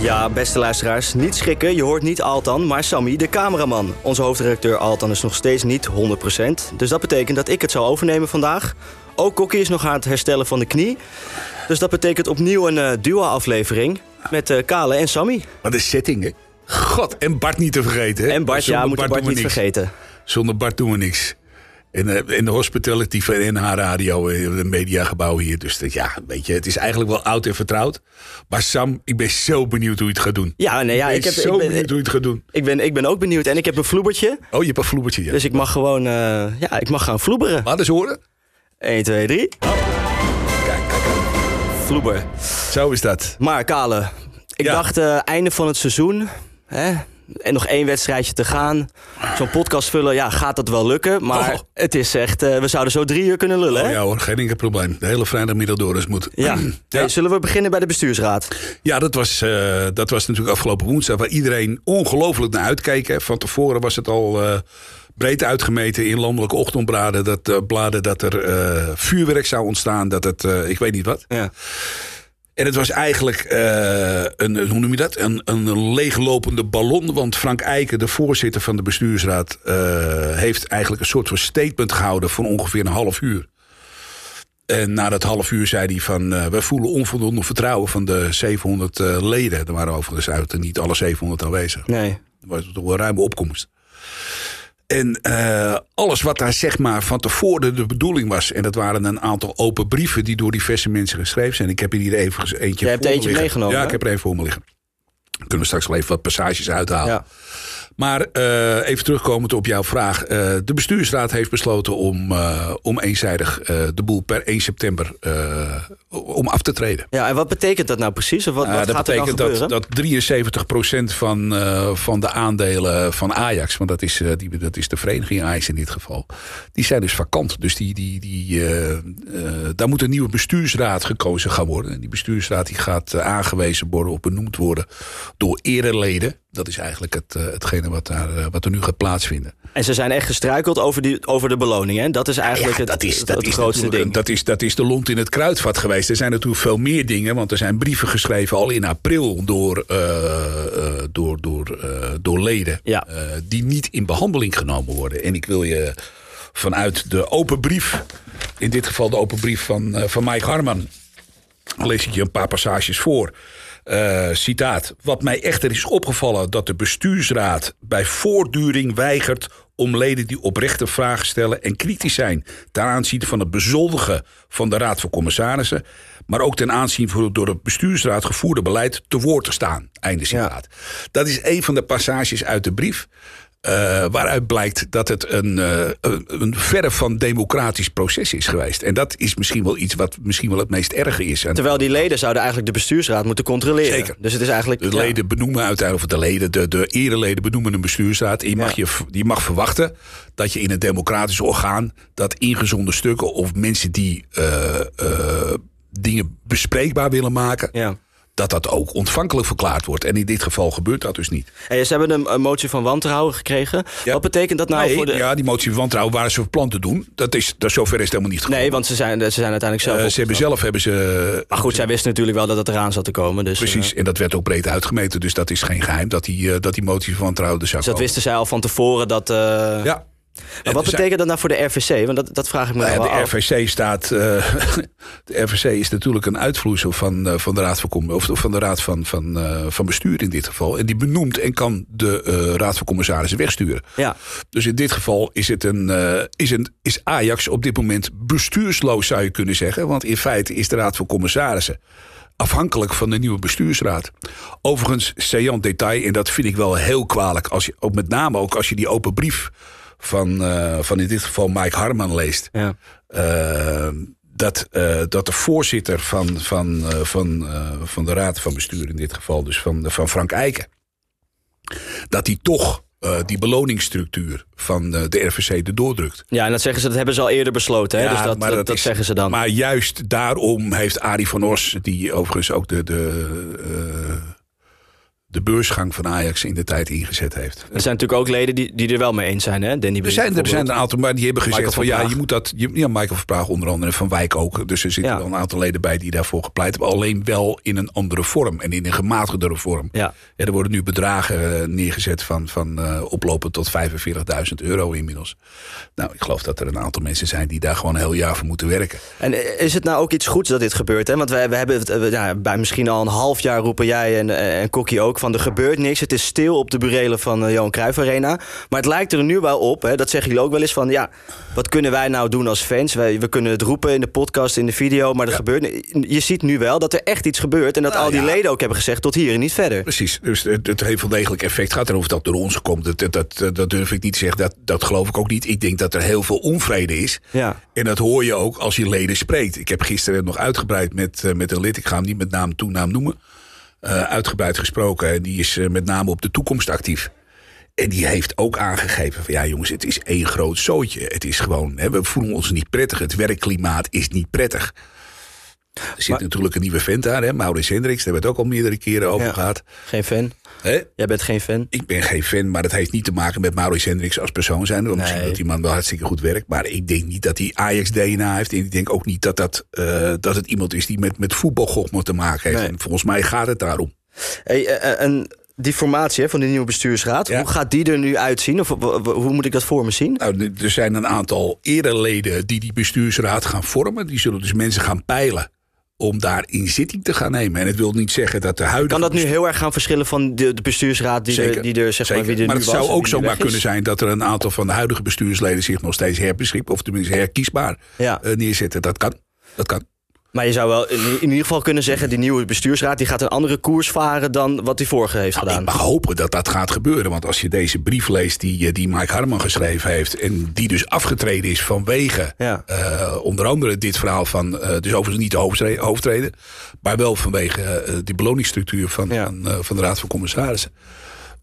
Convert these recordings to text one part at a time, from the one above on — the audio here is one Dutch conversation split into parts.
Ja, beste luisteraars, niet schrikken. Je hoort niet Altan, maar Sammy, de cameraman. Onze hoofdredacteur Altan is nog steeds niet 100%. Dus dat betekent dat ik het zal overnemen vandaag. Ook Kokkie is nog aan het herstellen van de knie. Dus dat betekent opnieuw een eh duo-aflevering met eh, Kale en Sammy. Wat een setting, hè? God, en Bart niet te vergeten, hè? En Bart, ja, Zonder moeten Bart doen we niet niks. vergeten. Zonder Bart doen we niks. En, eh, en de hospitality van NH Radio, eh, het mediagebouw hier. Dus dat, ja, weet je, het is eigenlijk wel oud en vertrouwd. Maar Sam, ik ben zo benieuwd hoe je het gaat doen. Ja, nee, ja, ik, ik, heb, ben zo ik, ben, benieuwd hoe je het gaat doen. ik, ben, ik ben ook benieuwd. En ik heb een vloebertje, Oh, je hebt een vloebertje. Ja. dus ik mag gewoon eh, ja, ik mag gaan vloeberen. Laat eens horen. 1, 2, 3. Kijk, kijk, kijk. Vloeber. Zo is dat. Maar Kale, ik Ja. dacht eh, einde van het seizoen. Hè? En nog één wedstrijdje te gaan. Zo'n podcast vullen, ja, gaat dat wel lukken? Maar Oh. het is echt, eh, we zouden zo drie uur kunnen lullen, hè? Oh ja hoor, geen enkel probleem. De hele vrijdagmiddag door is moet. Ja. ja. Hey, zullen we beginnen bij de bestuursraad? Ja, dat was, eh, dat was natuurlijk afgelopen woensdag waar iedereen ongelooflijk naar uitkeek. hè. Van tevoren was het al eh, breed uitgemeten in landelijke ochtendbladen. Dat, eh, bladen dat er eh, vuurwerk zou ontstaan. Dat het, eh, ik weet niet wat. Ja. En het was eigenlijk, eh, een, een- hoe noem je dat? Een, een leeglopende ballon. Want Frank Eiken, de voorzitter van de bestuursraad, eh, heeft eigenlijk een soort van statement gehouden van ongeveer een half uur. En na dat half uur zei hij van... eh, we voelen onvoldoende vertrouwen van de 700 eh, leden. Er waren overigens uit en niet alle 700 aanwezig. Nee. Er was toch wel een ruime opkomst. En eh, alles wat daar zeg maar van tevoren de bedoeling was... en dat waren een aantal open brieven die door diverse mensen geschreven zijn. Ik heb hier even eentje Jij hebt voor me eentje liggen. meegenomen, Ja, hè? ik heb er even voor me liggen. Kunnen we straks wel even wat passages uithalen. Ja. Maar eh, even terugkomend op jouw vraag. Eh, de bestuursraad heeft besloten om, eh, om eenzijdig eh, de boel per 1 september eh, om af te treden. ja, en wat betekent dat nou precies? Of wat, Eh, wat dat gaat er dan betekent dat, gebeuren? dat 73% van, eh, van de aandelen van Ajax, want dat is, eh, die, dat is de vereniging Ajax in dit geval, die zijn dus vakant. Dus die, die, die, eh, eh, daar moet een nieuwe bestuursraad gekozen gaan worden. En die bestuursraad die gaat eh, aangewezen worden of benoemd worden door ereleden. Dat is eigenlijk het, eh, hetgene wat, daar, eh, wat er nu gaat plaatsvinden. En ze zijn echt gestruikeld over, die, over de beloning, hè? Dat is eigenlijk Ja, het, dat is, dat het is grootste natuurlijk- ding. Dat is, dat is de lont in het kruidvat geweest. Er zijn natuurlijk veel meer dingen, want er zijn brieven geschreven al in april door, eh, eh, door, door, eh, door leden Ja. eh, die niet in behandeling genomen worden. En ik wil je vanuit de open brief, in dit geval de open brief van, eh, van Mike Harman, lees ik je een paar passages voor. Eh, citaat. Wat mij echter is opgevallen dat de bestuursraad bij voortduring weigert om leden die oprechte vragen stellen en kritisch zijn ten aanzien van het bezoldigen van de Raad van Commissarissen, maar ook ten aanzien van het door de bestuursraad gevoerde beleid te woord te staan. Einde citaat. Dat is een van de passages uit de brief. eh, waaruit blijkt dat het een, eh, een, een verre van democratisch proces is geweest. En dat is misschien wel iets wat misschien wel het meest erge is. En Terwijl die leden zouden eigenlijk de bestuursraad moeten controleren. Zeker. Dus het is eigenlijk... De ja. leden benoemen uiteindelijk, of de leden, de, de ereleden benoemen een bestuursraad. En je mag, Ja. je, v- je mag verwachten dat je in een democratisch orgaan dat ingezonde stukken of mensen die eh, eh, dingen bespreekbaar willen maken, Ja. dat dat ook ontvankelijk verklaard wordt. En in dit geval gebeurt dat dus niet. Hey, Eh, ze hebben een, een motie van wantrouwen gekregen. Ja. Wat betekent dat nou Nee, voor de... Ja, die motie van wantrouwen waren ze van plan te doen. Dat is, dat, zover is het helemaal niet gekomen. Nee, want ze zijn, ze zijn uiteindelijk zelf... Eh, op- ze hebben zelf hebben ze Maar goed, zij wisten natuurlijk wel dat het eraan zat te komen. Dus, eh, Precies, en dat werd ook breed uitgemeten. Dus dat is geen geheim dat die, eh, dat die motie van wantrouwen er zou dus dat komen. wisten zij al van tevoren. Dat, eh, Oh. Ja. Maar En wat er zijn- betekent dat nou voor de RVC? Want dat, dat vraag ik me nou Nou wel ja, de af. RVC staat. eh, de RVC is natuurlijk een uitvloeisel van, eh, van de Raad van, Com- of van, de raad van, van, eh, van Bestuur in dit geval. En die benoemt en kan de eh, Raad van Commissarissen wegsturen. Ja, Dus in dit geval is, het een, eh, is, een, is Ajax op dit moment bestuursloos, zou je kunnen zeggen. Want in feite is de Raad van Commissarissen afhankelijk van de nieuwe bestuursraad. Overigens, saillant detail, en dat vind ik wel heel kwalijk. Als je, ook met name ook als je die open brief van, eh, van in dit geval Mike Harman leest. ja. Eh, dat, eh, dat de voorzitter van, van, eh, van, eh, van de Raad van Bestuur, in dit geval dus van, van Frank Eiken, dat hij toch eh, die beloningsstructuur van eh, de RVC erdoor drukt. ja, en dat zeggen ze, dat hebben ze al eerder besloten. Hè? Ja, dus dat, maar dat, dat dat is- zeggen ze dan. Maar juist daarom heeft Arie van Os, die overigens ook de, de, eh, de beursgang van Ajax in de tijd ingezet heeft. Er zijn natuurlijk ook leden die, die er wel mee eens zijn, hè? Danny Er Blind zijn, er zijn bijvoorbeeld. een aantal, maar die hebben gezegd Michael van, van ja, Praag. je moet dat. je- ja, Michael van Praag onder andere en Van Wijk ook. Dus er zitten Ja. wel een aantal leden bij die daarvoor gepleit hebben. Alleen wel in een andere vorm en in een gematigdere vorm. Ja. er worden nu bedragen eh, neergezet van, van eh, oplopend tot 45.000 euro inmiddels. Nou, ik geloof dat er een aantal mensen zijn die daar gewoon een heel jaar voor moeten werken. En eh, is het nou ook iets goeds dat dit gebeurt? Hè? Want we, we hebben het eh, we- ja, bij misschien al een half jaar roepen jij en, eh, en Kokkie ook van er gebeurt niks. Het is stil op de burelen van eh, Johan Cruijff Arena. Maar het lijkt er nu wel op, hè, dat zeggen jullie ook wel eens van ja, wat kunnen wij nou doen als fans? Wij, we kunnen het roepen in de podcast, in de video, maar er gebeurt ni- Je ziet nu wel dat er echt iets gebeurt en dat Nou al die ja. leden ook hebben gezegd tot hier en niet verder. Precies, dus het, het heeft wel degelijk effect gehad. En of dat door ons komt, dat, dat, dat, dat durf ik niet te zeggen. Dat, dat geloof ik ook niet. Ik denk dat er heel veel onvrede is. Ja. En dat hoor je ook als je leden spreekt. Ik heb gisteren nog uitgebreid met, eh, met een lid, ik ga hem niet met naam en toenaam noemen, eh, uitgebreid gesproken. En die is eh, met name op de toekomst actief. En die heeft ook aangegeven van ja jongens, het is één groot zootje. Het is gewoon, hè, we voelen ons niet prettig. Het werkklimaat is niet prettig. Er zit Maar- natuurlijk een nieuwe vent daar, hè, Maurits Hendricks. Daar hebben we het ook al meerdere keren over Ja. gehad. Geen fan. Hè? Jij bent geen fan. Ik ben geen fan, maar dat heeft niet te maken met Maurits Hendricks als persoon zijn. Want Misschien Nee. dat die man wel hartstikke goed werkt. Maar ik denk niet dat hij Ajax-DNA heeft. En ik denk ook niet dat, dat, eh, dat het iemand is die met, met voetbalgochme te maken heeft. Nee. En volgens mij gaat het daarom. Hey, eh, eh, en die formatie hè, van de nieuwe bestuursraad, Ja. hoe gaat die er nu uitzien? Of w- w- hoe moet ik dat voor me zien? Nou, er zijn een aantal ereleden die die bestuursraad gaan vormen. Die zullen dus mensen gaan peilen om daar in zitting te gaan nemen. En het wil niet zeggen dat de huidige Kan dat nu heel erg gaan verschillen van de, de bestuursraad die Zeker, er, die er, zeg maar, zeker. wie er nu het was zou en wie ook nu zomaar weg is? kunnen zijn dat er een aantal van de huidige bestuursleden zich nog steeds herbeschikken, of tenminste herkiesbaar Ja. eh, neerzetten. Dat kan. Dat kan. Maar je zou wel in, in ieder geval kunnen zeggen... die nieuwe bestuursraad die gaat een andere koers varen... dan wat die vorige heeft Nou, gedaan. ik mag hopen dat dat gaat gebeuren. Want als je deze brief leest die, eh, die Mike Harman geschreven heeft. en die dus afgetreden is vanwege. Ja. eh, onder andere dit verhaal van. eh, dus overigens niet de hoofdre- hoofdreden. maar wel vanwege eh, die beloningsstructuur van, Ja. van, eh, van de Raad van Commissarissen.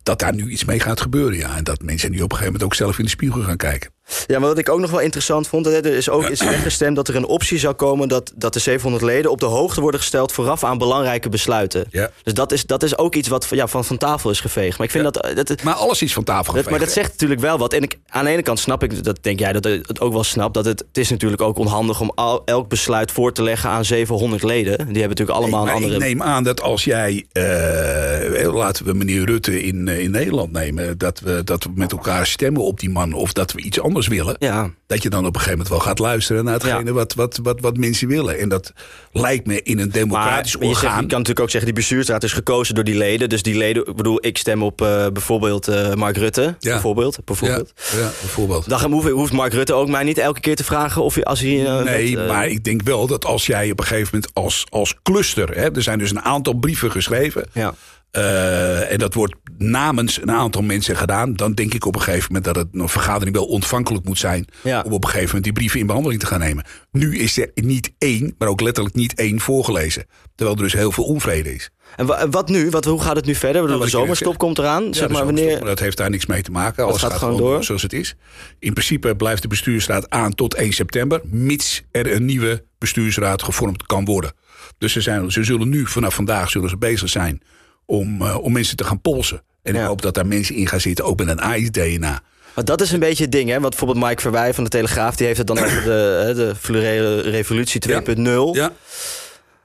dat daar nu iets mee gaat gebeuren. Ja. En dat mensen nu op een gegeven moment ook zelf in de spiegel gaan kijken. Ja, maar wat ik ook nog wel interessant vond... Hè, er is ook is weggestemd dat er een optie zou komen... Dat, dat de 700 leden op de hoogte worden gesteld... vooraf aan belangrijke besluiten. Ja. Dus dat is, dat is ook iets wat ja, van, van tafel is geveegd. Maar ik vind dat... eh, dat Maar alles is van tafel dat, geveegd. maar dat zegt natuurlijk wel wat. En ik, aan de ene kant snap ik, dat denk jij dat ik het ook wel snap... dat het, het is natuurlijk ook onhandig om al, elk besluit voor te leggen aan 700 leden. Die hebben natuurlijk allemaal Nee, een maar andere... Ik neem aan dat als jij, eh, laten we meneer Rutte in, eh, in Nederland nemen, dat we, dat we met elkaar stemmen op die man of dat we iets anders willen. Ja, Dat je dan op een gegeven moment wel gaat luisteren naar hetgene Ja. wat, wat, wat, wat mensen willen. En dat lijkt me in een Maar democratisch maar je, zegt, je orgaan. kan natuurlijk ook zeggen, die bestuursraad is gekozen door die leden. Dus die leden, ik bedoel, ik stem op eh, bijvoorbeeld eh, Mark Rutte. Ja. Bijvoorbeeld, ja, bijvoorbeeld. ja, bijvoorbeeld. Dan hoeft, hoeft Mark Rutte ook mij niet elke keer te vragen of hij, als hij... eh, Nee, wat, eh, maar ik denk wel dat als jij op een gegeven moment als, als cluster... Hè, er zijn dus een aantal brieven geschreven... Ja. eh, en dat wordt namens een aantal mensen gedaan... dan denk ik op een gegeven moment dat het een vergadering wel ontvankelijk moet zijn... Ja. om op een gegeven moment die brieven in behandeling te gaan nemen. Nu is er niet één, maar ook letterlijk niet één voorgelezen. Terwijl er dus heel veel onvrede is. En wa- wat nu? Wat, hoe gaat het nu verder? Ik bedoel, Nou, wat ik de net zomerstop zeg. komt eraan. Ja, zeg dat maar, is ook zo, wanneer... maar dat heeft daar niks mee te maken. Alles gaat gewoon door. zoals het is. In principe blijft de bestuursraad aan tot 1 september. Mits er een nieuwe bestuursraad gevormd kan worden. Dus ze, zijn, ze zullen nu, vanaf vandaag, zullen ze bezig zijn om, eh, om mensen te gaan polsen. En Ja. ik hoop dat daar mensen in gaan zitten, ook met een AIS-DNA. Want dat is een beetje het ding, hè? Want bijvoorbeeld Mike Verwij van de Telegraaf... die heeft het dan over de, hè, de fluorele revolutie 2.0. Ja.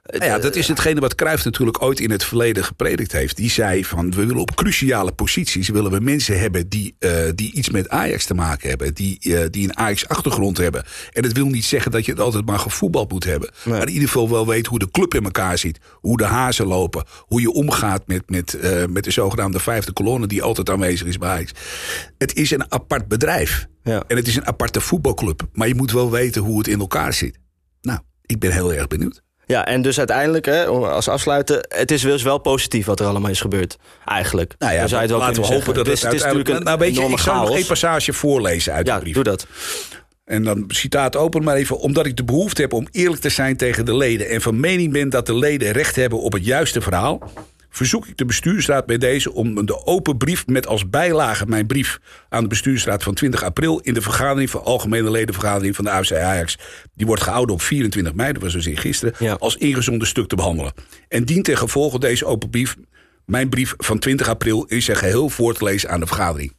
Nou ja, dat is hetgene wat Cruijff natuurlijk ooit in het verleden gepredikt heeft. Die zei van, we willen op cruciale posities willen we mensen hebben die, eh, die iets met Ajax te maken hebben. Die, eh, die een Ajax-achtergrond hebben. En dat wil niet zeggen dat je het altijd maar gevoetbald moet hebben. Maar in ieder geval wel weet hoe de club in elkaar zit. Hoe de hazen lopen. Hoe je omgaat met, met, eh, met de zogenaamde vijfde kolonne die altijd aanwezig is bij Ajax. Het is een apart bedrijf. Ja. En het is een aparte voetbalclub. Maar je moet wel weten hoe het in elkaar zit. Nou, ik ben heel erg benieuwd. Ja, en dus uiteindelijk, hè, om- als afsluiten... het is dus wel positief wat er allemaal is gebeurd. Eigenlijk. Nou ja, Dan zou je het wel laten we kunnen hopen dat zeggen. het, Dus het is uiteindelijk... natuurlijk een nou, weet je, enorme ik zou nog chaos. één passage voorlezen uit Ja, de brief. doe dat. En dan citaat open maar even. Omdat ik de behoefte heb om eerlijk te zijn tegen de leden... en van mening ben dat de leden recht hebben op het juiste verhaal... verzoek ik de bestuursraad bij deze om de open brief... met als bijlage mijn brief aan de bestuursraad van 20 april... in de vergadering van algemene ledenvergadering van de AFC Ajax... die wordt gehouden op 24 mei, dat was dus in gisteren... Ja. als ingezonden stuk te behandelen. En dient ten gevolge deze open brief Mijn brief van 20 april is zijn geheel voor te lezen aan de vergadering.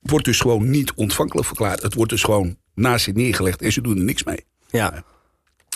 Wordt dus gewoon niet ontvankelijk verklaard. Het wordt dus gewoon naast zich neergelegd en ze doen er niks mee. Ja.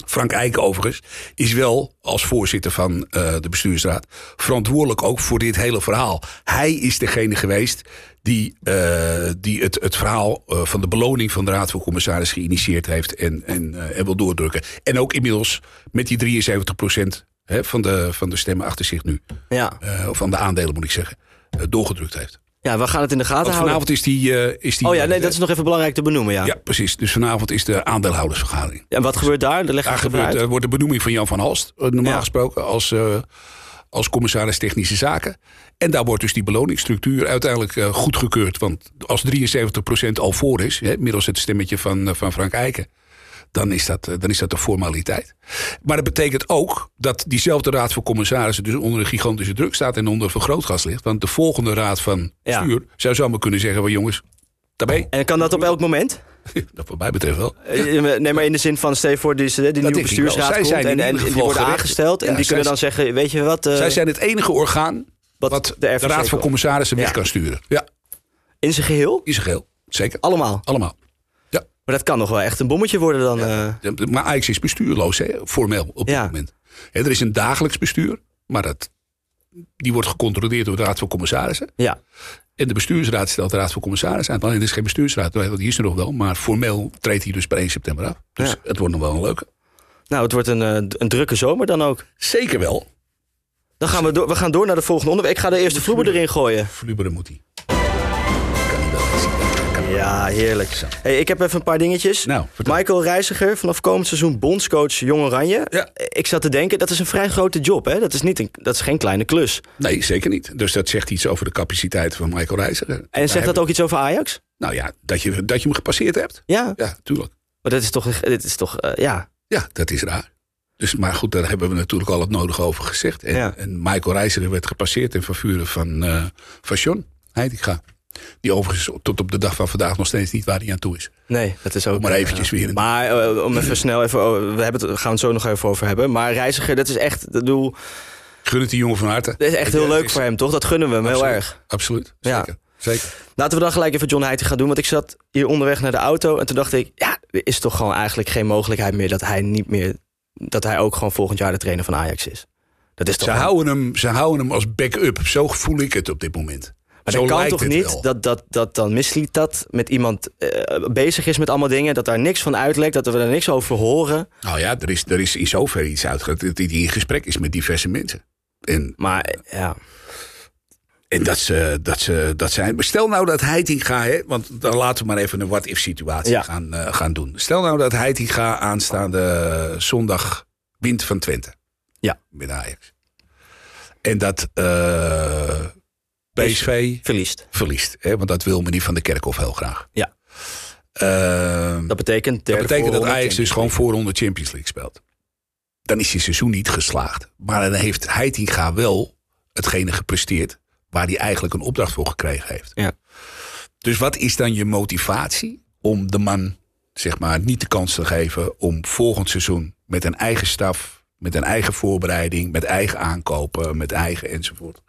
Frank Eiken overigens is wel als voorzitter van eh, de bestuursraad verantwoordelijk ook voor dit hele verhaal. Hij is degene geweest die, eh, die het, het verhaal eh, van de beloning van de Raad van Commissaris geïnitieerd heeft en, en, eh, en wil doordrukken. En ook inmiddels met die 73% hè, van, de, van de stemmen achter zich nu, Ja. eh, of van de aandelen moet ik zeggen, eh, doorgedrukt heeft. ja, we gaan het in de gaten Want houden. vanavond is die... eh, is die Oh ja, nee, dat is nog even belangrijk te benoemen, ja. Ja, precies. Dus vanavond is de aandeelhoudersvergadering. En wat gebeurt daar? Daar leg ik Daar het even gebeurt, uit. eh, wordt de benoeming van Jan van Halst, eh, normaal Ja. gesproken, als, eh, als commissaris Technische Zaken. En daar wordt dus die beloningsstructuur uiteindelijk eh, goedgekeurd. Want als 73% al voor is, hè, middels het stemmetje van, eh, van Frank Eiken. Dan is, dat, eh, dan is dat de formaliteit. Maar dat betekent ook dat diezelfde raad van commissarissen dus onder een gigantische druk staat en onder vergrootgas ligt. Want de volgende raad van Ja. stuur zou zomaar kunnen zeggen: well, jongens, daarbij. En kan dat op elk moment? Dat wat mij betreft wel. Eh, Nee, maar in de zin van, stel je voor, dus, eh, die denk nieuwe ik wel. bestuursraad Zij komt zijn in en, en ieder die geval worden gericht. aangesteld. En Ja, die kunnen zij- dan zeggen, weet je wat, eh, Zij zijn het enige orgaan wat, wat de, de, RVC Raad van wil. Commissarissen weg Ja. kan sturen. Ja, In zijn geheel? is geheel. Zeker. Allemaal. Allemaal. Maar dat kan nog wel echt een bommetje worden dan. eh. Ja, Maar Ajax is bestuurloos, hè, formeel op dit Ja. moment. Hè, er is een dagelijks bestuur, maar dat, die wordt gecontroleerd door de Raad van Commissarissen. ja. En de bestuursraad stelt de Raad van Commissarissen aan. Alleen er is geen bestuursraad, want die is er nog wel. Maar formeel treedt hij dus per 1 september af. Dus Ja. het wordt nog wel een leuke. Nou, het wordt een, eh, d- een drukke zomer dan ook. Zeker wel. Dan gaan we, door, we gaan door naar de volgende onderwerp. Ik ga de eerste vloeber erin gooien. Fluberen moet hij. Kan hij wel eens. Kan hij wel. Ja, heerlijk. Zo. Hey, ik heb even een paar dingetjes. Nou, vertel. Michael Reiziger, vanaf komend seizoen bondscoach Jong Oranje. Ja. Ik zat te denken, dat is een vrij grote job. Hè? Dat, is niet een, dat is geen kleine klus. Nee, zeker niet. Dus dat zegt iets over de capaciteit van Michael Reiziger. En zegt dat ook iets over Ajax? Nou ja, dat je, dat je hem gepasseerd hebt. Ja, Ja, tuurlijk. maar dat is toch... Dit is toch eh, ja. Ja, dat is raar. Dus, maar goed, daar hebben we natuurlijk al het nodige over gezegd. En, Ja. en Michael Reiziger werd gepasseerd in vervuren van, eh van John Heitinga. Die overigens tot op de dag van vandaag nog steeds niet waar hij aan toe is. Nee, dat is ook... Om maar eventjes weer in- Maar eh, om even snel even... oh, we hebben het, gaan het zo nog even over hebben. Maar Reiziger, dat is echt... Ik bedoel, Gun het die jongen van harte. dat is echt heel Ja, leuk is- voor hem, toch? Dat gunnen we hem heel Absoluut. erg. Absoluut, Ja. zeker. zeker. Laten we dan gelijk even John Heiting gaan doen. Want ik zat hier onderweg naar de auto. En toen dacht ik, ja, er is toch gewoon eigenlijk geen mogelijkheid meer dat hij niet meer. Dat hij ook gewoon volgend jaar de trainer van Ajax is. Dat is toch. Ze gewoon- houden, hem, ze houden hem als backup. Zo voel ik het op dit moment. maar zo dat kan lijkt toch het niet wel. dat, dat, dat dan misliet dat met iemand eh, bezig is met allemaal dingen. Dat daar niks van uitlekt. Dat we er niks over horen. Nou ja, er is, er is in zoverre iets uitgegaan dat hij in gesprek is met diverse mensen. En Maar eh, ja. En dat ze, dat ze dat zijn. Maar stel nou dat Heitinga, hè, want dan laten we maar even een what-if situatie Ja. gaan, eh, gaan doen. Stel nou dat Heitinga aanstaande zondag wint van Twente. Ja. Met Ajax. En dat eh, PSV Verliest. verliest. Hè, want dat wil meneer Van der Kerkhoff heel graag. Ja. Ehm, Dat betekent. dat derde betekent dat voorronde Ajax Champions dus gewoon voorronde Champions League speelt. Dan is die seizoen niet geslaagd. Maar dan heeft Heitinga wel hetgene gepresteerd waar hij eigenlijk een opdracht voor gekregen heeft. Ja. Dus wat is dan je motivatie om de man zeg maar, niet de kans te geven om volgend seizoen met een eigen staf, met een eigen voorbereiding, met eigen aankopen, met eigen enzovoort.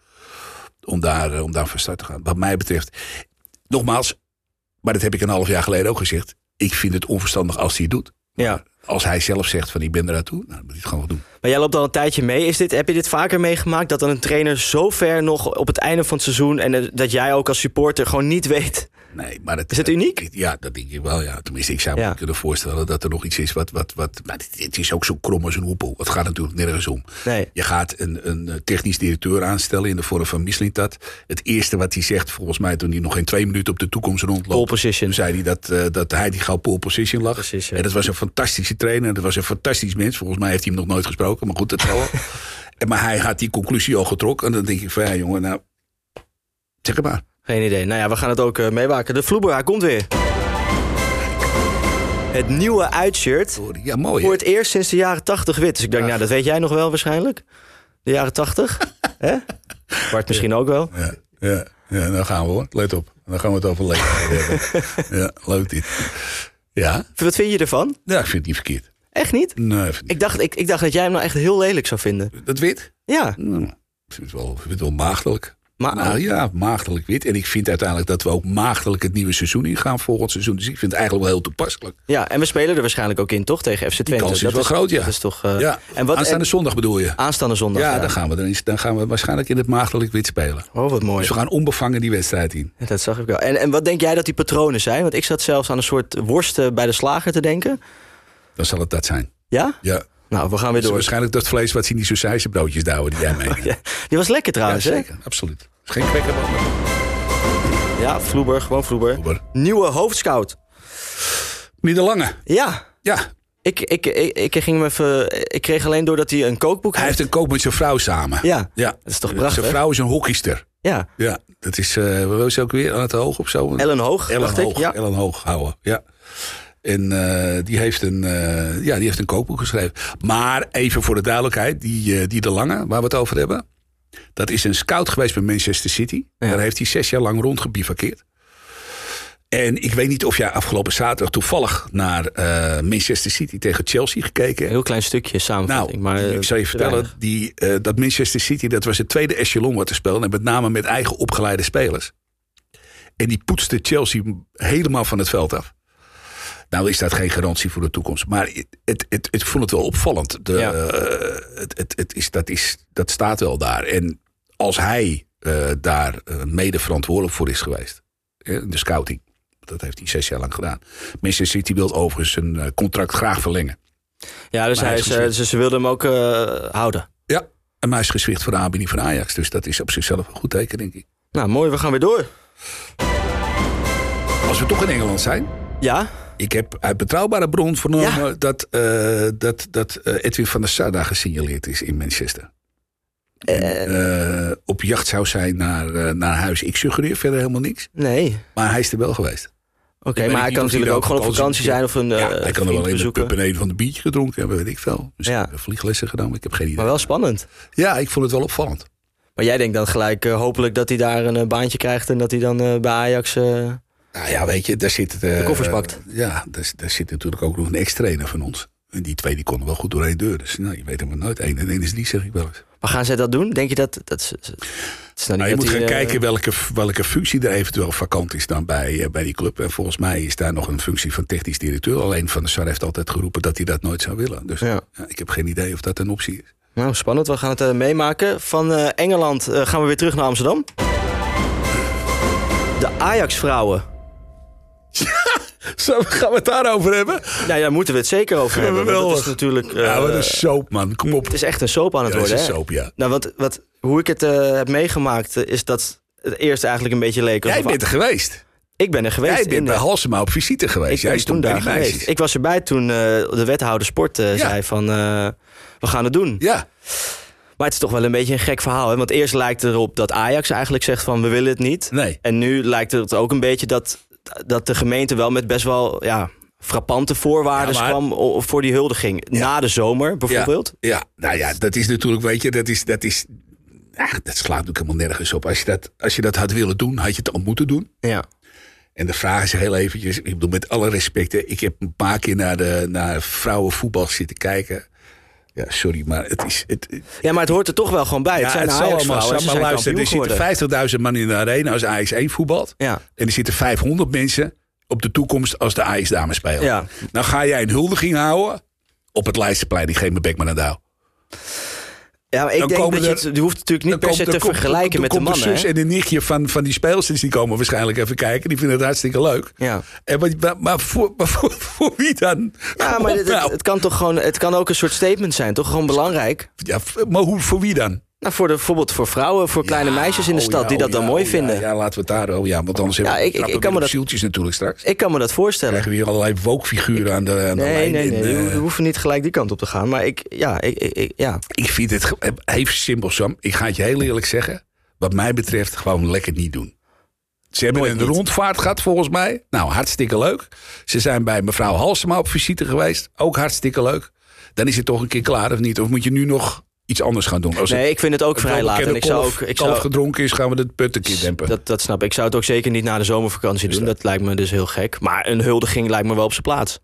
Om daar, eh, om daar van start te gaan. Wat mij betreft, nogmaals, maar dat heb ik een half jaar geleden ook gezegd. Ik vind het onverstandig als hij het doet. League. Ja. Als hij zelf zegt van ik ben er naartoe, nou, dan moet hij het gewoon wel doen. Maar jij loopt al een tijdje mee. Is dit, heb je dit vaker meegemaakt dat dan een trainer zo ver nog op het einde van het seizoen. en eh, dat jij ook als supporter gewoon niet weet. Nee, maar het, Is het uniek? het- ja, dat denk ik wel. Ja. Tenminste, ik zou me Ja. kunnen voorstellen dat er nog iets is wat... wat, wat maar het, het is ook zo krom als een hoepel. Het gaat natuurlijk nergens om. Nee. Je gaat een, een eh, technisch directeur aanstellen in de vorm van Mislintat. Het eerste wat hij zegt, volgens mij toen hij nog geen twee minuten op de toekomst Pole rondloopt... position. Toen zei hij dat, eh, dat hij die gauw pole position lag. Precies, ja. En dat was een fantastische trainer. Dat was een fantastisch mens. Volgens mij heeft hij hem nog nooit gesproken. Maar goed, dat zal wel. En Maar hij had die conclusie al getrokken. En dan denk ik van, ja jongen, nou... Zeg het maar. Geen idee. Nou ja, we gaan het ook eh, meewaken. De Vloeber, hij komt weer. Het nieuwe uitshirt. Ja, mooi. hè? Voor het eerst sinds de jaren 80 wit. Dus ik denk, nou, dat weet jij nog wel waarschijnlijk. De jaren 80. Hè? Bart misschien ook wel. Ja, ja, ja, dan gaan we hoor. Let op. Dan gaan we het over leeftijd hebben. ja, leuk dit. Ja, Wat vind je ervan? ja, ik vind het niet verkeerd. Echt niet? Nee, ik vind het Ik dacht, ik, ik dacht dat jij hem nou echt heel lelijk zou vinden. niet. Dat wit? Ja. Nou, vind het wel, ik vind het wel maagdelijk. Maar- nou ja, maagdelijk wit. En ik vind uiteindelijk dat we ook maagdelijk het nieuwe seizoen ingaan volgend seizoen. Dus ik vind het eigenlijk wel heel toepasselijk. Ja, en we spelen er waarschijnlijk ook in, toch? Tegen FC Twente. kans is wel groot, ja. Dat is toch, eh, ja, en wat, aanstaande zondag bedoel je? en- aanstaande zondag. ja, ja. dan gaan, we erin, dan gaan we waarschijnlijk in het maagdelijk wit spelen. Oh, wat mooi. Dus we gaan onbevangen die wedstrijd in. Ja, Dat zag ik wel. En, en wat denk jij dat die patronen zijn? Want ik zat zelfs aan een soort worsten bij de slager te denken. Dan zal het dat zijn. Ja? Ja. Nou, we gaan weer Dus door. waarschijnlijk dat vlees wat ze in die sausijzenbroodjes douwen die jij meeneemt. Ja, die was lekker Ja, trouwens, hè? zeker. Absoluut. Het is geen kwekker. maar- Ja, Vloeber, gewoon Vloeber. Vloeber. Nieuwe hoofdscout. Meneer De Lange. Ja, Ja, ik, ik, ik, ik ging hem even... Ik kreeg alleen doordat hij een kookboek hij heeft een koop met zijn vrouw samen. Ja, ja. dat is toch prachtig? Zijn vrouw is een hockeyster. ja. Ja, dat is, eh wat was ze ook weer? Aan het hoog of zo? Ellen Hoog, Ellen dacht Hoog, ik. Ja. Ellen Hoog houden. Ja. En eh, die, heeft een, eh, ja, die heeft een kookboek geschreven. Maar even voor de duidelijkheid, die, eh, die De Lange, waar we het over hebben. Dat is een scout geweest bij Manchester City. Ja. Daar heeft hij zes jaar lang rondgebivakkeerd. En ik weet niet of jij afgelopen zaterdag toevallig naar eh, Manchester City tegen Chelsea gekeken Een hebt. heel klein stukje Nou, samenvatting. maar, eh, ik zal je te vertellen, weinig. die, eh, dat Manchester City, dat was het tweede echelon wat te spelen. En met name met eigen opgeleide spelers. En die poetste Chelsea helemaal van het veld af. Nou is dat geen garantie voor de toekomst. Maar het, het, het, ik vond het wel opvallend. De, Ja. eh, het, het, het is, dat, is, dat staat wel daar. En als hij eh, daar eh, mede verantwoordelijk voor is geweest. eh, de scouting. Dat heeft hij zes jaar lang gedaan. Manchester City wil overigens zijn eh, contract graag verlengen. Ja, dus maar hij hij is, is eh, geschikt. ze, ze wilden hem ook eh, houden. Ja, en hij is geswicht voor de aanbieding van Ajax. Dus dat is op zichzelf een goed teken, denk ik. Nou, mooi. We gaan weer door. Als we toch in Engeland zijn. Ja? Ik heb uit betrouwbare bron vernomen Ja. dat, eh, dat, dat eh, Edwin van der Sada gesignaleerd is in Manchester. Eh, Eh, op jacht zou zijn naar, eh, naar huis. Ik suggereer verder helemaal niks. nee. Maar hij is er wel geweest. Oké, weet maar hij niet kan of hij natuurlijk er ook gewoon op vakantie zijn of een ja, eh, hij kan er wel vriend in de bezoeken. pub en een van de biertje gedronken hebben, weet ik veel. Misschien Ja. hebben vlieglessen genomen, ik heb geen idee. Maar wel spannend. Ja, ik vond het wel opvallend. Maar jij denkt dan gelijk, eh, hopelijk dat hij daar een eh, baantje krijgt en dat hij dan eh, bij Ajax. eh, Nou ja, weet je, daar zit... eh, De koffers pakt. Ja, daar, daar zit natuurlijk ook nog een ex-trainer van ons. En die twee die konden wel goed door één deur. Dus nou, je weet helemaal nooit. Eén en één is die, zeg ik wel eens. Maar gaan zij dat doen? Denk je dat. dat is, het is nou niet Nou, je dat moet hij, gaan eh, kijken welke, welke functie er eventueel vakant is dan bij, eh, bij die club. En volgens mij is daar nog een functie van technisch directeur. Alleen Van der Sar heeft altijd geroepen dat hij dat nooit zou willen. Dus Ja. ja, ik heb geen idee of dat een optie is. Nou, spannend. We gaan het eh, meemaken. Van eh, Engeland eh, gaan we weer terug naar Amsterdam. De Ajax-vrouwen. Zo, gaan we het daarover hebben? Nou, daar moeten we het zeker over hebben. want Dat is Geweldig. natuurlijk. eh, ja, wat een soap, man. Kom op. Het is echt een soap aan het Ja, dat is worden. hè? een soap, ja. Nou, want wat, hoe ik het eh, heb meegemaakt, eh, is dat het eerst eigenlijk een beetje leek. Jij alsof- bent er geweest. ik ben er geweest. Jij bent in, bij eh, Halsema op visite geweest. Jij ben stond bij die meisjes. Ik was erbij toen eh, de wethouder sport eh, Ja. zei van... eh, we gaan het doen. Ja. Maar het is toch wel een beetje een gek verhaal. Hè? Want eerst lijkt het erop dat Ajax eigenlijk zegt van... we willen het niet. Nee. En nu lijkt het ook een beetje dat, dat de gemeente wel met best wel... Ja, frappante voorwaarden Ja, maar- kwam o- voor die huldiging. Na de zomer bijvoorbeeld. Ja, ja, nou ja, dat is natuurlijk, weet je, dat is. Dat, is, ah, dat slaat natuurlijk helemaal nergens op. Als je, dat, als je dat had willen doen, had je het al moeten doen. Ja. En de vraag is heel eventjes, ik bedoel, met alle respect, hè, ik heb een paar keer naar, de, naar vrouwenvoetbal zitten kijken. Ja, sorry, maar het is. Het, Ja, maar het hoort er toch wel gewoon bij. ja, het zijn zal Ajax-vrouwen en ze maar zijn luister, kampioen er geworden. zitten 50.000 man in de arena als Ajax 1 voetbalt. Ja. En er zitten 500 mensen op de toekomst als de Ajax dames spelen. Ja. Nou ga jij een huldiging houden op het Leidseplein, die geef me bek maar naar douw. ja, maar ik dan denk komen dat je, er- het, je hoeft natuurlijk niet Dan per se komt- te dan komt- vergelijken dan met de komt mannen. zus hè? en de nichtje van, van die speelsters die komen waarschijnlijk even kijken. Die vinden het hartstikke leuk. Ja. En, wat- maar maar, voor, maar voor, voor wie dan? Ja, Kom maar op het, nou. het kan toch gewoon, het kan ook een soort statement zijn, toch? Gewoon belangrijk. ja, v- maar hoe, voor wie dan? Nou, voor de, bijvoorbeeld voor vrouwen, voor kleine meisjes in de Oh, stad ja, die dat oh, dan ja, mooi oh, vinden. Ja, ja, laten we het daar... Oh ja, want anders Ja, hebben we ik- ik- trappen ik kan weer me op zieltjes natuurlijk straks. Ik kan me dat voorstellen. krijgen we hier allerlei wokfiguren aan de, aan de Nee, lijn. nee, nee. En, We eh, we hoeven niet gelijk die kant op te gaan. Maar ik, ja, ik, ik, ik- ja. ik vind het... ge- Even simpel, Sam. Ik ga het je heel eerlijk zeggen. Wat mij betreft gewoon lekker niet doen. Ze hebben Nooit een niet. rondvaart gehad volgens mij. Nou, hartstikke leuk. Ze zijn bij mevrouw Halsema op visite geweest. Ook hartstikke leuk. Dan is het toch een keer klaar of niet? Of moet je nu nog iets anders gaan doen? Als het- Nee, ik vind het ook als vrij Oh, het laat. En bekende ik zou kalf- ook, ik kalf zou, gedronken is, gaan we het puttenkeer dempen. dat, dat snap ik. Ik zou het ook zeker niet na de zomervakantie doen. Dat lijkt me dus heel gek. Maar een huldiging lijkt me wel op zijn plaats.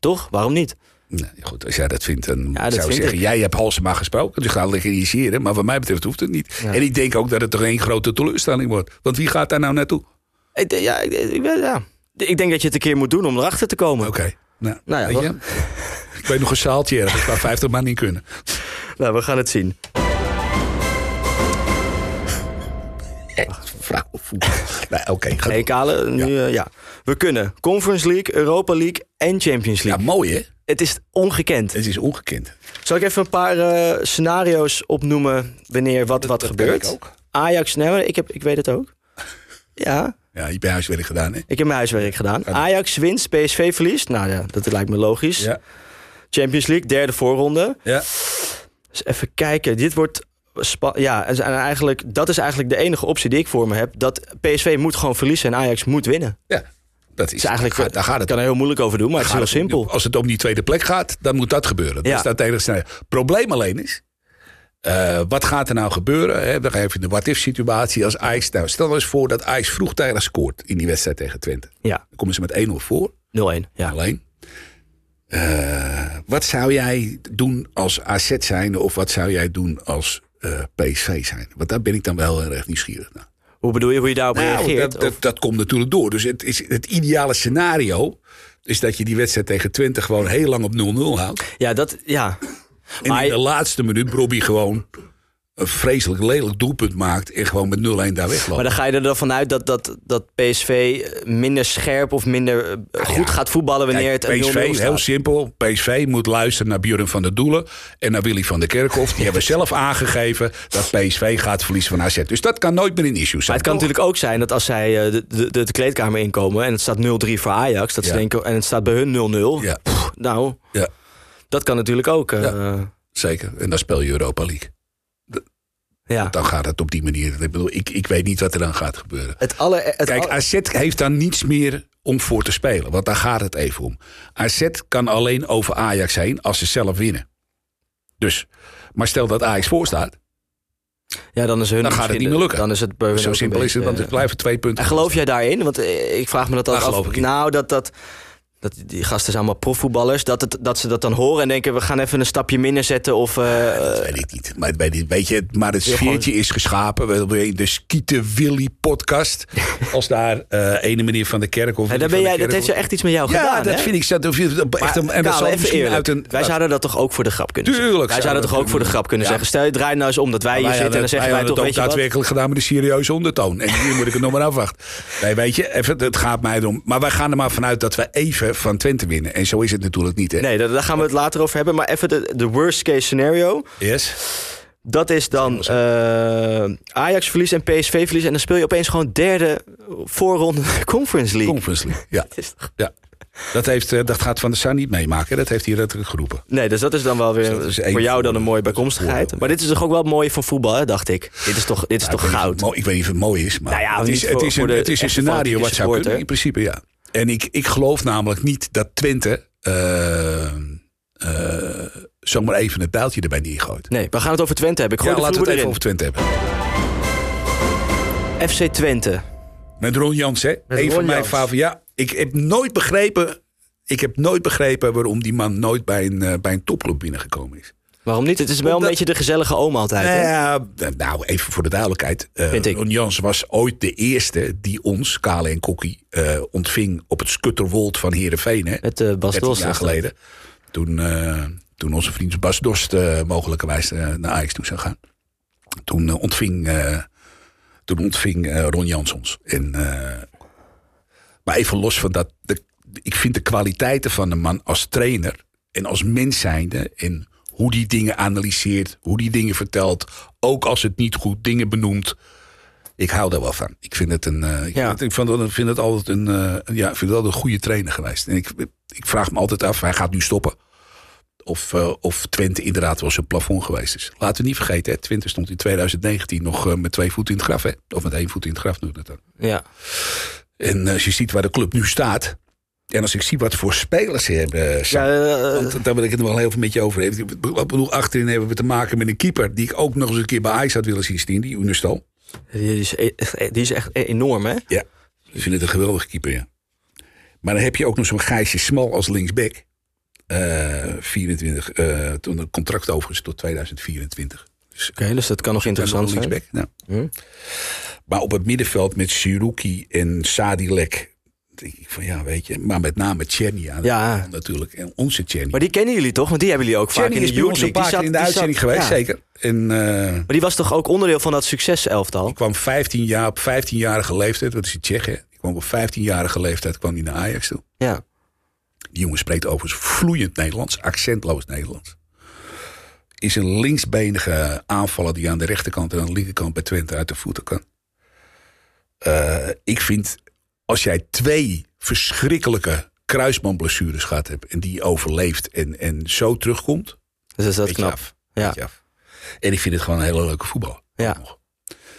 Toch? Waarom niet? Nee, goed, als jij dat vindt, dan Ja, dat zou ik vind zeggen... ik. jij hebt Halsema gesproken, dus ga legaliseren. Maar wat mij betreft hoeft het niet. En ik denk ook dat het toch één grote teleurstelling wordt. Want wie gaat daar nou naartoe? Ik, denk- ja, ik, ik ben- ja. ik denk dat je het een keer moet doen om erachter te komen. Oké. Nou, Nou ja, weet je? Ik weet nog een zaaltje ergens waar 50 man in kunnen. Nou, we gaan het zien. Eh, Vrouwenvoetbal. Nee, oké. ga Hey, door. Kale, nu, eh, ja. We kunnen Conference League, Europa League en Champions ja, League. mooi hè? Het is ongekend. Het is ongekend. Zal ik even een paar eh, scenario's opnoemen wanneer wat, wat Dat gebeurt? ken ik ook. Ajax, nee, maar ik, heb, ik weet het ook. Ja, Ja, je bent huiswerk gedaan hè? ik heb mijn huiswerk gedaan. Ajax wint, PSV verliest. Nou ja, dat lijkt me logisch. Ja. Champions League, derde voorronde. ja. Dus even kijken, dit wordt... spa- ja, en eigenlijk, dat is eigenlijk de enige optie die ik voor me heb. Dat PSV moet gewoon verliezen en Ajax moet winnen. Ja, dat is, Is eigenlijk, daar, gaat- daar gaat ik het kan er heel moeilijk over doen, maar het is heel Gaat het om die- simpel. Als het om die tweede plek gaat, dan moet dat gebeuren. Ja. Dus dat enige scenario. probleem alleen is. eh, wat gaat er nou gebeuren? Hè? We gaan even in de what-if-situatie. Als Ajax, nou, stel eens voor dat Ajax vroegtijdig scoort in die wedstrijd tegen Twente. Ja, Dan komen ze met 1-0 voor. 0-1. Ja. Alleen. Eh, wat zou jij doen als AZ zijn? Of wat zou jij doen als eh, PSV zijn? Want daar ben ik dan wel heel erg nieuwsgierig naar. Hoe bedoel je hoe je daarop Nou, reageert? dat, dat, Of- dat komt natuurlijk door. Dus het, is, het ideale scenario is dat je die wedstrijd tegen Twente gewoon heel lang op 0-0 houdt. ja, dat, ja. En Maar- in de laatste minuut Robbie gewoon een vreselijk lelijk doelpunt maakt. En gewoon met 0-1 daar Maar wegloopt. dan ga je er dan vanuit dat, dat, dat PSV minder scherp of minder eh, goed gaat voetballen wanneer Ah, Kijk, het een 0-0 PSV, staat. heel simpel. PSV moet luisteren naar Björn van der Doelen en naar Willy van der Kerkhoff. Die hebben zelf aangegeven dat PSV gaat verliezen van AZ. Dus dat kan nooit meer een issue Maar zijn. het kan toch? natuurlijk ook zijn dat als zij eh, de, de, de- de kleedkamer inkomen en het staat 0-3 voor Ajax, dat ze Ja. denken, en het staat bij hun 0-0. Ja. Pff, nou, Ja. dat kan natuurlijk ook. eh, Zeker. En dan speel je Europa League. ja. Dan gaat het op die manier. Ik bedoel, ik, ik weet niet wat er dan gaat gebeuren. Het aller, het Kijk, aller- AZ heeft daar niets meer om voor te spelen. Want daar gaat het even om. AZ kan alleen over Ajax heen als ze zelf winnen. Dus, maar stel dat Ajax voor staat. ja, dan is hun dan gaat het misschien- niet meer lukken. Dan is het bij hun Zo ook een simpel is het, want beetje, eh, het blijven twee En punten. geloof jij daarin? Want eh, ik vraag me dat dan Daar af. geloof ik in. nou, dat, dat, dat die gasten zijn allemaal profvoetballers. Dat, het, dat ze dat dan horen en denken, we gaan even een stapje minder zetten. Of, eh, Dat weet ik niet. Maar, het- weet ik- weet je, maar het Heel gewoon- sfeertje is geschapen. We hebben in de Skieten Willy podcast. Als daar eh ene meneer van de kerk of... en dan Willy ben van jij, dat de Kerkhoff- heeft zo echt iets met jou gedaan. Ja, dat hè? vind ik. zo- Dat, vind ik echt een, Maar, en Karel, dat zal even misschien eerlijk. uit een... wij zouden dat toch ook voor de grap kunnen Tuurlijk zeggen? Wij zouden zouden we toch ook dat voor de kunnen grap kunnen doen. zeggen. Stel je draai nou eens om dat wij hier Maar ja, zitten en dan dat- zeggen wij hadden toch, weet het je wat? ook daadwerkelijk gedaan met een serieuze ondertoon. En hier moet ik het nog maar afwachten. Nee, weet je, even, het gaat mij erom. Maar wij gaan er maar vanuit dat we even van Twente winnen. En zo is het natuurlijk niet, hè? Nee, daar, daar gaan we het later over hebben. Maar even de, de worst case scenario. Yes. Dat is dan eh, Ajax verlies en PSV verlies. En dan speel je opeens gewoon derde voorronde Conference League. Conference League. Ja, Het is toch- ja. Dat, heeft, eh, dat gaat Van der Sar niet meemaken. Dat heeft hij letterlijk geroepen. Nee, dus dat is dan wel weer dat is één voor jou dan een mooie voordeel. bijkomstigheid. Maar dit is toch ook wel mooi voor voetbal, hè, dacht ik. Dit is toch, dit is toch Ik weet niet of goud. het mooi- Ik weet niet of het mooi is, maar Nou ja, het niet is, voor- het is voor een, de het is een echte scenario wat fanatieke zou kunnen. In supporter. principe, ja. En ik, ik geloof namelijk niet dat Twente eh, eh, zomaar even het pijltje erbij neergooit. Nee, we gaan het over Twente hebben. Ik gooi Ja, de laten we vloer het even erin. over Twente hebben. FC Twente. Met Ron Jans, hè? een Ron van mijn Jans. favorieten. Ja, ik heb nooit begrepen. Ik heb nooit begrepen waarom die man nooit bij een, eh, bij een topclub binnengekomen is. Waarom niet? Het is wel een Omdat- beetje de gezellige oma altijd. hè? Nou ja, nou, even voor de duidelijkheid. eh, Vind ik. Ron Jans was ooit de eerste die ons, Kale en Kokkie, eh, ontving op het Skutterwold van Heerenveen. Hè? Met eh Bas 13 Dost. jaar geleden. Toen, eh, toen onze vriend Bas Dorst eh, mogelijkerwijs eh, naar Ajax toe zou gaan. Toen eh, ontving, eh, toen ontving eh, Ron Jans ons. En, eh, maar even los van dat. de- ik vind de kwaliteiten van de man als trainer en als mens zijnde. En hoe die dingen analyseert, hoe die dingen vertelt. Ook als het niet goed dingen benoemt. Ik hou daar wel van. Ik vind het een. eh, ik Ja. vind het- ik vind het, vind het altijd een. eh, ja, ik vind het altijd een goede trainer geweest. En ik, ik vraag me altijd af, hij gaat nu stoppen. Of, eh, of Twente inderdaad wel zijn plafond geweest is. Laten we niet vergeten, hè, Twente stond in 2019 nog eh, met twee voeten in het graf. Hè? Of met één voet in het graf noem ik dat dan. Ja. En eh, als je ziet waar de club nu staat. En als ik zie wat voor spelers ze hebben. Sam, Ja, eh, eh, want daar wil ik het nog wel heel veel met je over hebben. Ik bedoel, achterin hebben we te maken met een keeper. Die ik ook nog eens een keer bij Ajax had willen zien staan. Die Unestal. die, is echt, die is echt enorm, hè? Ja, ik vind het een geweldige keeper, ja. Maar dan heb je ook nog zo'n Gijsje Smal als linksback. Eh, eh, 24, eh, toen een contract overigens tot 2024. Dus Oké, dus dat kan nog en dan interessant een zijn. linksback. Ja. Maar op het middenveld met Siruki en Sadilek. Denk ik van ja, weet je. Maar met name Tjerni. Ja, dat Ja. kan natuurlijk. En onze Tjerni. Maar die kennen jullie toch? Want die hebben jullie ook vaak Tjerni in de is bij Youth ons een League. paar keer in de die uitzending zat- geweest, ja. zeker. En eh, Maar die was toch ook onderdeel van dat succeselftal? kwam 15 jaar, op 15-jarige leeftijd. Wat is het Tsjech, hè? Die kwam op 15-jarige leeftijd kwam die naar Ajax toe. Ja. Die jongen spreekt overigens vloeiend Nederlands, accentloos Nederlands. Is een linksbenige aanvaller die aan de rechterkant en aan de linkerkant bij Twente uit de voeten kan. Eh, ik vind, als jij twee verschrikkelijke kruisbandblessures gehad hebt... en die overleeft en, en zo terugkomt, Dus dat is dat weet je knap. af. Ja. Weet je af. En ik vind het gewoon een hele leuke voetballer. Ja. Nog.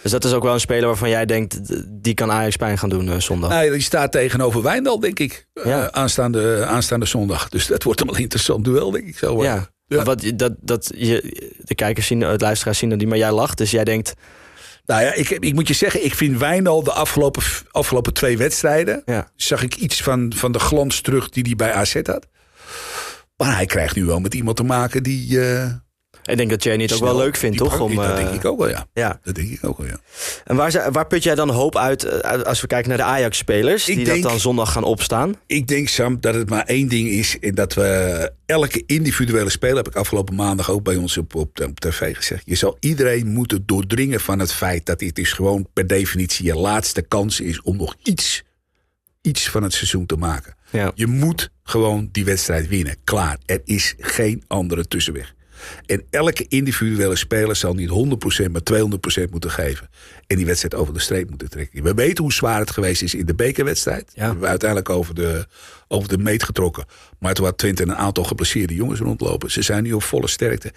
Dus dat is ook wel een speler waarvan jij denkt, d- die kan Ajax pijn gaan doen eh, zondag. Oh. Nee, die staat tegenover Wijndal, denk ik. Ja. Eh, aanstaande, aanstaande zondag. Dus dat wordt hem een interessant duel, denk ik. Zo. eh. ja. Maar Wat, je- dat, dat je, de kijkers zien, het luisteraars zien dat die, maar jij lacht. Dus jij denkt, Nou ja, ik, ik moet je zeggen, ik vind Wijnal de afgelopen, afgelopen twee wedstrijden. ja. zag ik iets van, van de glans terug die hij bij AZ had. Maar hij krijgt nu wel met iemand te maken die. eh Ik denk dat jij het ook snel- wel leuk vindt, die toch? pak- Om, dat denk eh, ik ook wel, ja. Ja. Dat denk ik ook wel, ja. En waar, ze- waar put jij dan hoop uit eh, uit- als we kijken naar de Ajax-spelers? Ik Die denk- dat dan zondag gaan opstaan? Ik denk, Sam, dat het maar één ding is. En dat we elke individuele speler, heb ik afgelopen maandag ook bij ons op, op, op tv gezegd. Je zal iedereen moeten doordringen van het feit dat dit is gewoon per definitie je laatste kans is om nog iets, iets van het seizoen te maken. Ja. Je moet gewoon die wedstrijd winnen. Klaar. Er is geen andere tussenweg. En elke individuele speler zal niet 100%, maar 200% moeten geven. En die wedstrijd over de streep moeten trekken. We weten hoe zwaar het geweest is in de bekerwedstrijd. Ja. We hebben uiteindelijk over de, over de meet getrokken. Maar toen had Twente een aantal geblesseerde jongens rondlopen. Ze zijn nu op volle sterkte.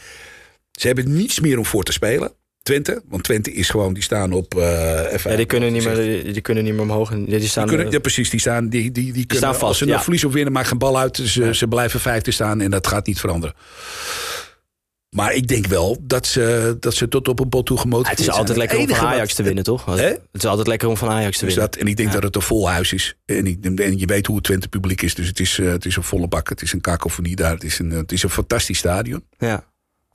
Ze hebben niets meer om voor te spelen. Twente, want Twente is gewoon, die staan op... eh even Ja, die, kunnen niet meer, die, die kunnen niet meer omhoog. en- Die, die staan, die kunnen, eh, ja, precies. Die staan, die, die, die kunnen, staan vast, Als ze nog ja. verliezen of winnen, maakt geen bal uit. Ze, ze blijven vijfde staan en dat gaat niet veranderen. Maar ik denk wel dat ze, dat ze tot op een bot toe Ah, gemotiveerd het is zijn. altijd lekker om enige van wat- Ajax te winnen, toch? Hè? Het is altijd lekker om van Ajax te Dus winnen. dat, en ik denk dat het een vol huis is. En, ik, en je weet hoe het Twente publiek is. Dus het is, eh, het is een volle bak. Het is een kakofonie daar. Het is een, eh, het is een fantastisch stadion. Ja.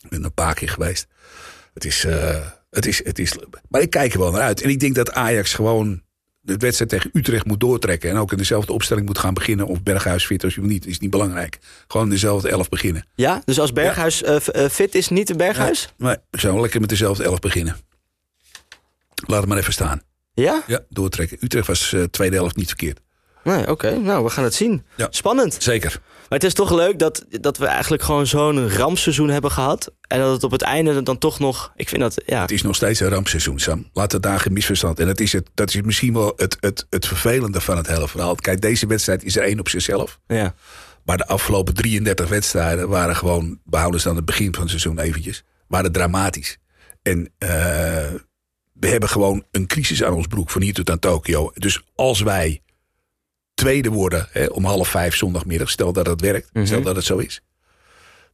Ik ben er een paar keer geweest. Het is, eh, het, is, het is. Maar ik kijk er wel naar uit. En ik denk dat Ajax gewoon de wedstrijd tegen Utrecht moet doortrekken. En ook in dezelfde opstelling moet gaan beginnen. Of Berghuis fit als je wil niet. Is niet belangrijk. Gewoon dezelfde elf beginnen. ja, dus als Berghuis eh, f- eh, fit is, niet Berghuis? Maar zo lekker met dezelfde elf beginnen. Laat het maar even staan. Ja? Ja, doortrekken. Utrecht was eh tweede helft niet verkeerd. Nee, oké. Nou, we gaan het zien. Ja. Spannend. Zeker. Maar het is toch leuk dat, dat we eigenlijk gewoon zo'n rampseizoen hebben gehad. En dat het op het einde dan toch nog... Ik vind dat... Ja, Het is nog steeds een rampseizoen, Sam. Laat het daar geen misverstand. En dat is, het, dat is misschien wel het, het, het vervelende van het hele verhaal. Kijk, deze wedstrijd is er één op zichzelf. ja. Maar de afgelopen 33 wedstrijden waren gewoon, behouden ze aan het begin van het seizoen eventjes, waren dramatisch. En eh, we hebben gewoon een crisis aan ons broek van hier tot aan Tokio. Dus als wij tweede worden hè, om half vijf zondagmiddag, stel dat dat werkt, stel dat het zo is.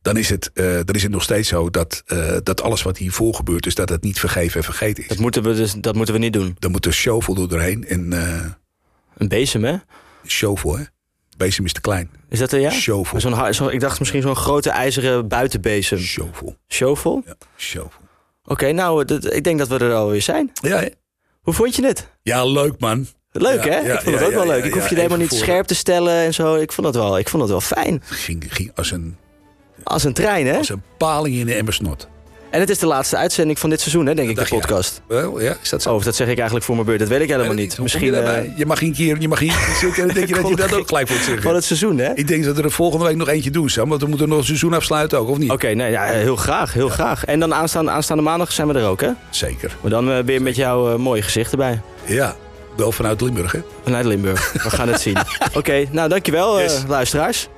Dan is, het, eh, dan is het nog steeds zo dat, eh, dat alles wat hiervoor gebeurd is, dat het niet vergeven en vergeten is. Dat, moeten we dus, dat moeten we niet doen. Dan moet er shovel door doorheen. En eh Een bezem, hè? shovel, hè? Bezem is te klein. Is dat er, ja? Shovel. Zo'n, har- zo, ik dacht misschien zo'n grote ijzeren buitenbezem. Shovel. Shovel? Oké, Ja, shovel. nou, dat- ik denk dat we er alweer zijn. Ja, hè? Hoe vond je het? Ja, leuk man. Leuk, Ja, hè? ja, ik vond het ja, ook wel ja, leuk. ja, ik hoef ja, je helemaal even niet voor- scherp te stellen en zo. Ik vond het wel, ik vond het wel fijn. Ging, ging als, een, Als een trein, hè? als een paling in de emmersnot. En het is de laatste uitzending van dit seizoen, hè, denk ik, de dacht je. podcast. Wel, ja, is dat zo? Oh, dat zeg ik eigenlijk voor mijn beurt. Dat weet ik helemaal Weet ik niet. Hoe kom Misschien je, eh, daarbij? Eh, je mag geen keer, je mag geen keer zitten. Dan denk je dat je dat ook gelijk wilt zeggen. eh, van het seizoen, hè? Ik denk dat we er volgende week nog eentje doen, Sam. Want we moeten nog een seizoen afsluiten ook, of niet? Oké, nee, ja, heel graag, heel graag. En dan aanstaande, aanstaande maandag zijn we er ook, hè? Zeker. Maar dan eh, weer met jouw eh, mooie gezicht erbij. Ja, wel vanuit Limburg, hè? Vanuit Limburg. We gaan het zien. Oké, nou dankjewel, eh Yes. luisteraars.